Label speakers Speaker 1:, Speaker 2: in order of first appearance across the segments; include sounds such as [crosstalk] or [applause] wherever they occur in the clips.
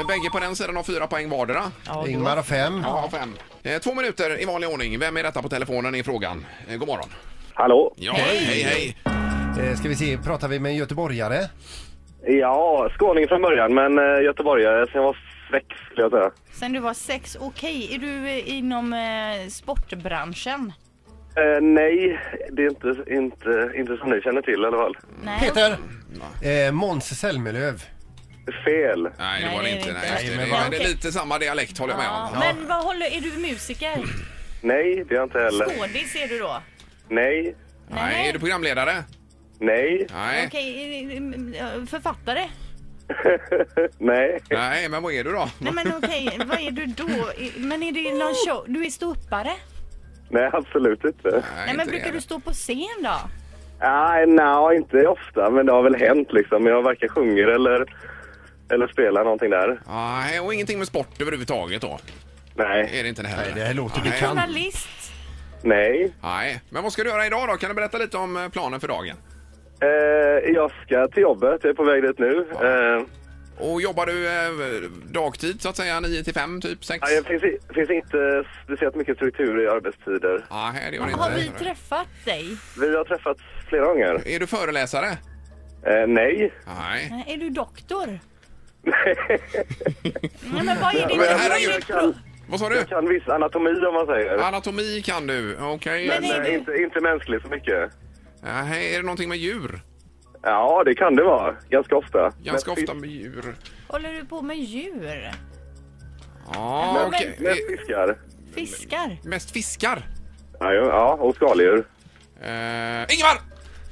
Speaker 1: Eh, bägge på den sidan har fyra poäng vardera.
Speaker 2: Ja, du-
Speaker 3: Ingmar har fem.
Speaker 1: Ja, fem. Eh, Två minuter i vanlig ordning. Vem är detta på telefonen är frågan. Eh, God morgon.
Speaker 4: Hallå?
Speaker 1: Ja, hej, hej.
Speaker 3: Eh, Ska vi se, pratar vi med en göteborgare?
Speaker 4: Ja, skåning från början, men eh, göteborgare sen jag var sex skulle jag säga.
Speaker 2: Sen du var sex, okej. Är du eh, inom eh, sportbranschen?
Speaker 4: Eh, nej, det är inte, inte, inte som ni känner till i alla fall.
Speaker 2: Nej.
Speaker 3: Peter! Eh, Måns Zelmerlöw.
Speaker 4: Fel.
Speaker 1: Nej, det var det inte. Nej, just det.
Speaker 3: men
Speaker 1: det,
Speaker 3: vad-
Speaker 1: är- det är lite samma dialekt håller jag med
Speaker 2: Ja,
Speaker 1: om.
Speaker 2: men vad håller, är du musiker?
Speaker 4: Nej, det är jag inte heller.
Speaker 2: Skådis är du då?
Speaker 4: Nej,
Speaker 1: Nej, är du programledare?
Speaker 4: nej, [laughs]
Speaker 1: Nej.
Speaker 2: Okej, eh, eh, författare?
Speaker 4: nej.
Speaker 1: Nej, men vad är du då?
Speaker 2: Nej men okej, vad är du då? I- Men är det någon show? Du är ståuppare?
Speaker 4: Nej, absolut inte.
Speaker 2: Nej
Speaker 1: inte
Speaker 2: men
Speaker 1: det
Speaker 2: brukar
Speaker 1: är
Speaker 2: du
Speaker 1: det.
Speaker 2: stå på scen då?
Speaker 4: Nej, nej, inte ofta, men det har väl hänt liksom. Jag varken sjunger eller, eller spelar någonting där.
Speaker 1: Nej, och ingenting med sport överhuvudtaget då?
Speaker 4: Nej,
Speaker 1: Är det inte det heller?
Speaker 3: Nej, det här låter
Speaker 1: Nej.
Speaker 3: bekant.
Speaker 2: Journalist?
Speaker 4: nej.
Speaker 1: Nej, men vad ska du göra idag då? Kan du berätta lite om eh, planen för dagen?
Speaker 4: Eh, jag ska till jobbet, jag är på väg dit nu. Eh,
Speaker 1: Och jobbar du eh, dagtid så att säga, 9 till 5 typ 6?
Speaker 4: nej, det finns, i- finns inte speciellt mycket struktur i arbetstider.
Speaker 1: Nej, det gör det
Speaker 2: Har vi
Speaker 1: inte.
Speaker 2: träffat dig?
Speaker 4: Vi har träffats flera gånger.
Speaker 1: Är du föreläsare?
Speaker 4: Eh, nej.
Speaker 1: Nej.
Speaker 2: Nej, Är du doktor? Nej men vad är det?
Speaker 4: Men
Speaker 2: vad
Speaker 1: herregud. Ah.
Speaker 2: är
Speaker 4: jag,
Speaker 2: det pro-
Speaker 4: kan,
Speaker 1: Vad sa du?
Speaker 4: jag kan viss anatomi om man säger.
Speaker 1: Anatomi kan du, okej.
Speaker 2: Men
Speaker 4: Men
Speaker 2: är
Speaker 4: eh,
Speaker 2: du-
Speaker 4: inte, inte mänskligt så mycket.
Speaker 1: Nej, är det någonting med djur?
Speaker 4: Ja, det kan det vara. Ganska ofta.
Speaker 1: Ganska
Speaker 4: Mest
Speaker 1: ofta med djur.
Speaker 2: Håller du på med djur?
Speaker 1: Ja,
Speaker 2: Men-
Speaker 1: okej.
Speaker 4: fisk- Mest
Speaker 1: Eh,
Speaker 4: fiskar.
Speaker 2: Fiskar?
Speaker 1: Mest fiskar?
Speaker 4: Ja, ju- ja, och skaldjur.
Speaker 1: Eh, Ingvar!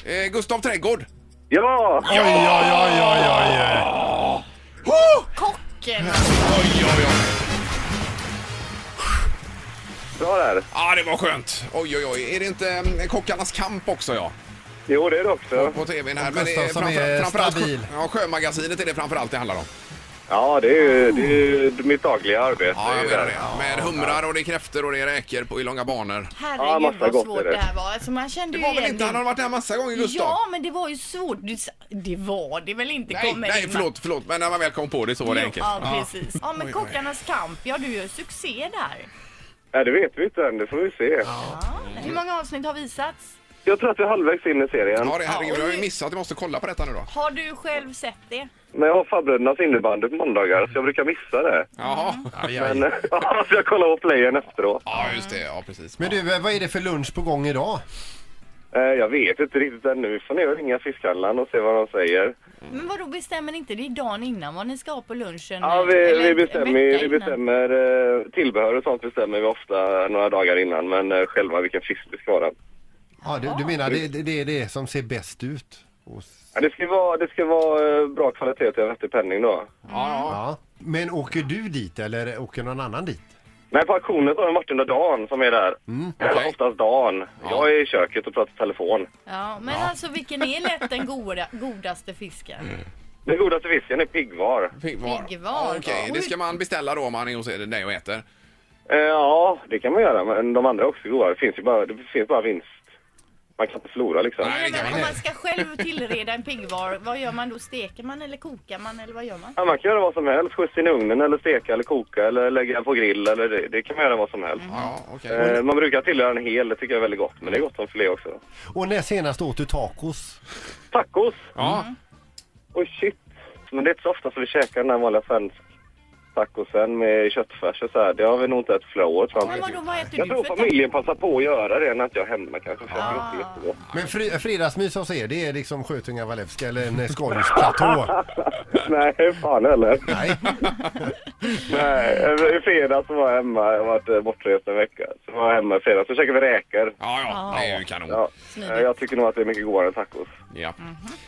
Speaker 1: Eh, Gustav Trädgård!
Speaker 4: Ja!
Speaker 3: Oj, oj, oj, oj, oj.
Speaker 1: Oh!
Speaker 2: Kocken?
Speaker 1: Oj, oj, oj.
Speaker 4: Bra där.
Speaker 1: Ja, ah, det var skönt. Oj, oj, oj. Är det inte mm, Kockarnas kamp också, ja?
Speaker 4: Jo, det är det också.
Speaker 1: På tvn här.
Speaker 3: Och
Speaker 1: det
Speaker 3: Gustafsson
Speaker 1: framför-
Speaker 3: är
Speaker 1: framförallt-
Speaker 3: stabil.
Speaker 1: Ja, Sjömagasinet är det framförallt det handlar om.
Speaker 4: Ja, det är ju, det är ju mitt dagliga arbete.
Speaker 1: Ja, jag
Speaker 4: ju
Speaker 1: menar det. Med humrar och det är kräftor och det är räkor på, i långa banor.
Speaker 4: Ja,
Speaker 2: Herregud
Speaker 4: massa
Speaker 2: vad
Speaker 4: gott
Speaker 2: svårt
Speaker 4: är det.
Speaker 2: det här var. Alltså man kände
Speaker 1: Det
Speaker 2: ju
Speaker 1: var väl
Speaker 2: igen
Speaker 1: inte? Han har varit där massa gånger, Gustav.
Speaker 2: Ja men det var ju svårt. Du sa- Det var det väl inte?
Speaker 1: nej,
Speaker 2: Kommer
Speaker 1: nej,
Speaker 2: in-
Speaker 1: förlåt, förlåt. Men när man väl kom på det så var det
Speaker 2: Jo,
Speaker 1: enkelt.
Speaker 2: ja, precis. Ja,
Speaker 1: Oj, oj.
Speaker 2: men Kockarnas kamp, ja du gör succé där.
Speaker 4: Ja, det vet vi inte än. Det får vi se.
Speaker 1: Mm.
Speaker 2: Hur många avsnitt har visats?
Speaker 4: Jag tror att jag är halvvägs in i serien.
Speaker 1: Ja, det, herregud,
Speaker 2: Ja, och
Speaker 1: jag har ju
Speaker 2: nu-
Speaker 1: missat. Jag måste kolla på detta nu då.
Speaker 2: Har du själv sett det?
Speaker 4: Men jag har farbrödernas innebandy på måndagar, så jag brukar missa det.
Speaker 1: Jaha.
Speaker 4: Men [laughs] ja, så jag kollar på playen efteråt.
Speaker 1: Ja, just det. Ja, precis.
Speaker 3: Men du, eh, vad är det för lunch på gång idag?
Speaker 4: Eh, Jag vet inte riktigt ännu. Får ni ringa fiskhandlaren och se vad de säger.
Speaker 2: Men vadå bestämmer inte det dagen innan vad ni ska ha på lunchen? eh,
Speaker 4: Ja, vi,
Speaker 2: Mm. Eller
Speaker 4: vi
Speaker 2: en
Speaker 4: bestämmer,
Speaker 2: vecka
Speaker 4: vi
Speaker 2: innan?
Speaker 4: bestämmer eh, tillbehör och sånt bestämmer vi ofta några dagar innan. Men eh, själva vilken fisk det ska vara.
Speaker 3: Ja, du, du menar det, det, det är det som ser bäst ut? Och, s-
Speaker 4: Ja, det ska vara, det ska vara eh, bra kvalitet till en vettig penning då.
Speaker 1: Ja,
Speaker 3: ja. Men åker du dit eller åker någon annan dit?
Speaker 4: Nej, på auktionen har det varit under dagen som är där.
Speaker 1: Mm, okej.
Speaker 4: Oftast dagen. Jag är i köket och pratar telefon.
Speaker 2: Ja, men alltså vilken är lätt den goda, godaste
Speaker 1: Mm,
Speaker 2: fisken?
Speaker 4: Den godaste fisken är piggvar.
Speaker 1: ja. Piggvar.
Speaker 2: Piggvar.
Speaker 1: Okej,
Speaker 2: Ja.
Speaker 1: det ska man beställa då om man är hos dig och äter.
Speaker 4: Eh, ja, det kan man göra. Men de andra är också goda. Det finns ju bara, det finns bara vinst. Man kan inte förlora liksom.
Speaker 1: Nej. det
Speaker 2: Nej,
Speaker 1: kan
Speaker 2: men
Speaker 1: man
Speaker 2: om man
Speaker 1: inte.
Speaker 2: ska själv tillreda en piggvar, vad gör man då? Steker man eller kokar man eller vad gör man?
Speaker 4: Ja, man kan göra vad som helst. Skjutsa in i ugnen eller steka eller koka eller lägga på grill. Eller det, det kan man göra vad som helst.
Speaker 1: Mm. Ja, okej.
Speaker 4: Eh, man brukar tillhöra en hel, det tycker jag är väldigt gott. Men det är gott som filé också.
Speaker 3: Och när senast åt du tacos?
Speaker 4: Tacos!
Speaker 1: Ja,
Speaker 4: Oj shit! Men det är inte så ofta som vi käkar den här vanliga svensk tacosen med köttfärs och så här. Det har vi nog inte ätit flera år tror
Speaker 2: Men
Speaker 4: jag.
Speaker 2: vadå, vad äter
Speaker 4: Jag
Speaker 2: du
Speaker 4: tror
Speaker 2: för tack?
Speaker 4: familjen passar på att göra det när inte jag är hemma kanske. För jag tycker inte det är jättegott.
Speaker 3: Men fri, fredagsmys hos er, det är liksom Sjötunga Wallefska eller
Speaker 1: [laughs]
Speaker 3: en skånesplatå?
Speaker 4: Nej, fan heller.
Speaker 3: Nej.
Speaker 4: Nej, i fredags så var jag hemma. Jag har varit eh, bortrest en vecka. Så var jag hemma i fredags. Så käkade vi räkor.
Speaker 1: ja, ja, det är ju kanon.
Speaker 4: Ja. Eh, Jag tycker nog att det är mycket godare än tacos.
Speaker 1: Ja.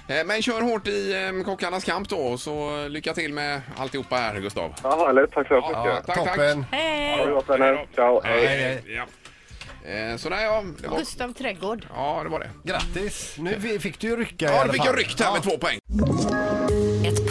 Speaker 1: Eh, Men kör hårt i eh, Kockarnas kamp då, så lycka till med alltihopa här, Gustav.
Speaker 4: Ja, härligt. Tack så hemskt
Speaker 1: Ja,
Speaker 4: mycket.
Speaker 1: tack, tack.
Speaker 3: Toppen.
Speaker 4: Ha
Speaker 2: Hej!
Speaker 4: det gott, vänner. Ciao. Hej.
Speaker 3: hej.
Speaker 1: Ja. Eh, Så där ja, det var,
Speaker 2: Gustav Trädgård.
Speaker 1: ja, det var det.
Speaker 3: Grattis! Nu vi- fick du ju rycka i
Speaker 1: Ja,
Speaker 3: alla
Speaker 1: nu fick
Speaker 3: fall.
Speaker 1: jag ryckt här med
Speaker 3: Ja.
Speaker 1: två poäng.
Speaker 5: Ett